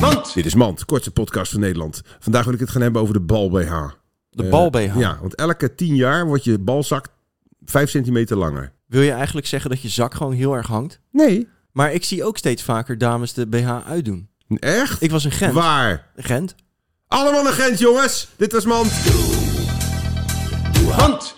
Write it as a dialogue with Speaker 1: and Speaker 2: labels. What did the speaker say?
Speaker 1: Mand.
Speaker 2: Dit is Mand, kortste podcast van Nederland. Vandaag wil ik het gaan hebben over de bal BH.
Speaker 3: De
Speaker 2: Eh,
Speaker 3: bal BH.
Speaker 2: Ja, want elke 10 jaar wordt je balzak 5 centimeter langer.
Speaker 3: Wil je eigenlijk zeggen dat je zak gewoon heel erg hangt?
Speaker 2: Nee.
Speaker 3: Maar ik zie ook steeds vaker dames de BH uitdoen.
Speaker 2: Echt?
Speaker 3: Ik was in Gent.
Speaker 2: Waar?
Speaker 3: Gent?
Speaker 2: Allemaal naar Gent, jongens. Dit was Mand.
Speaker 1: Mand.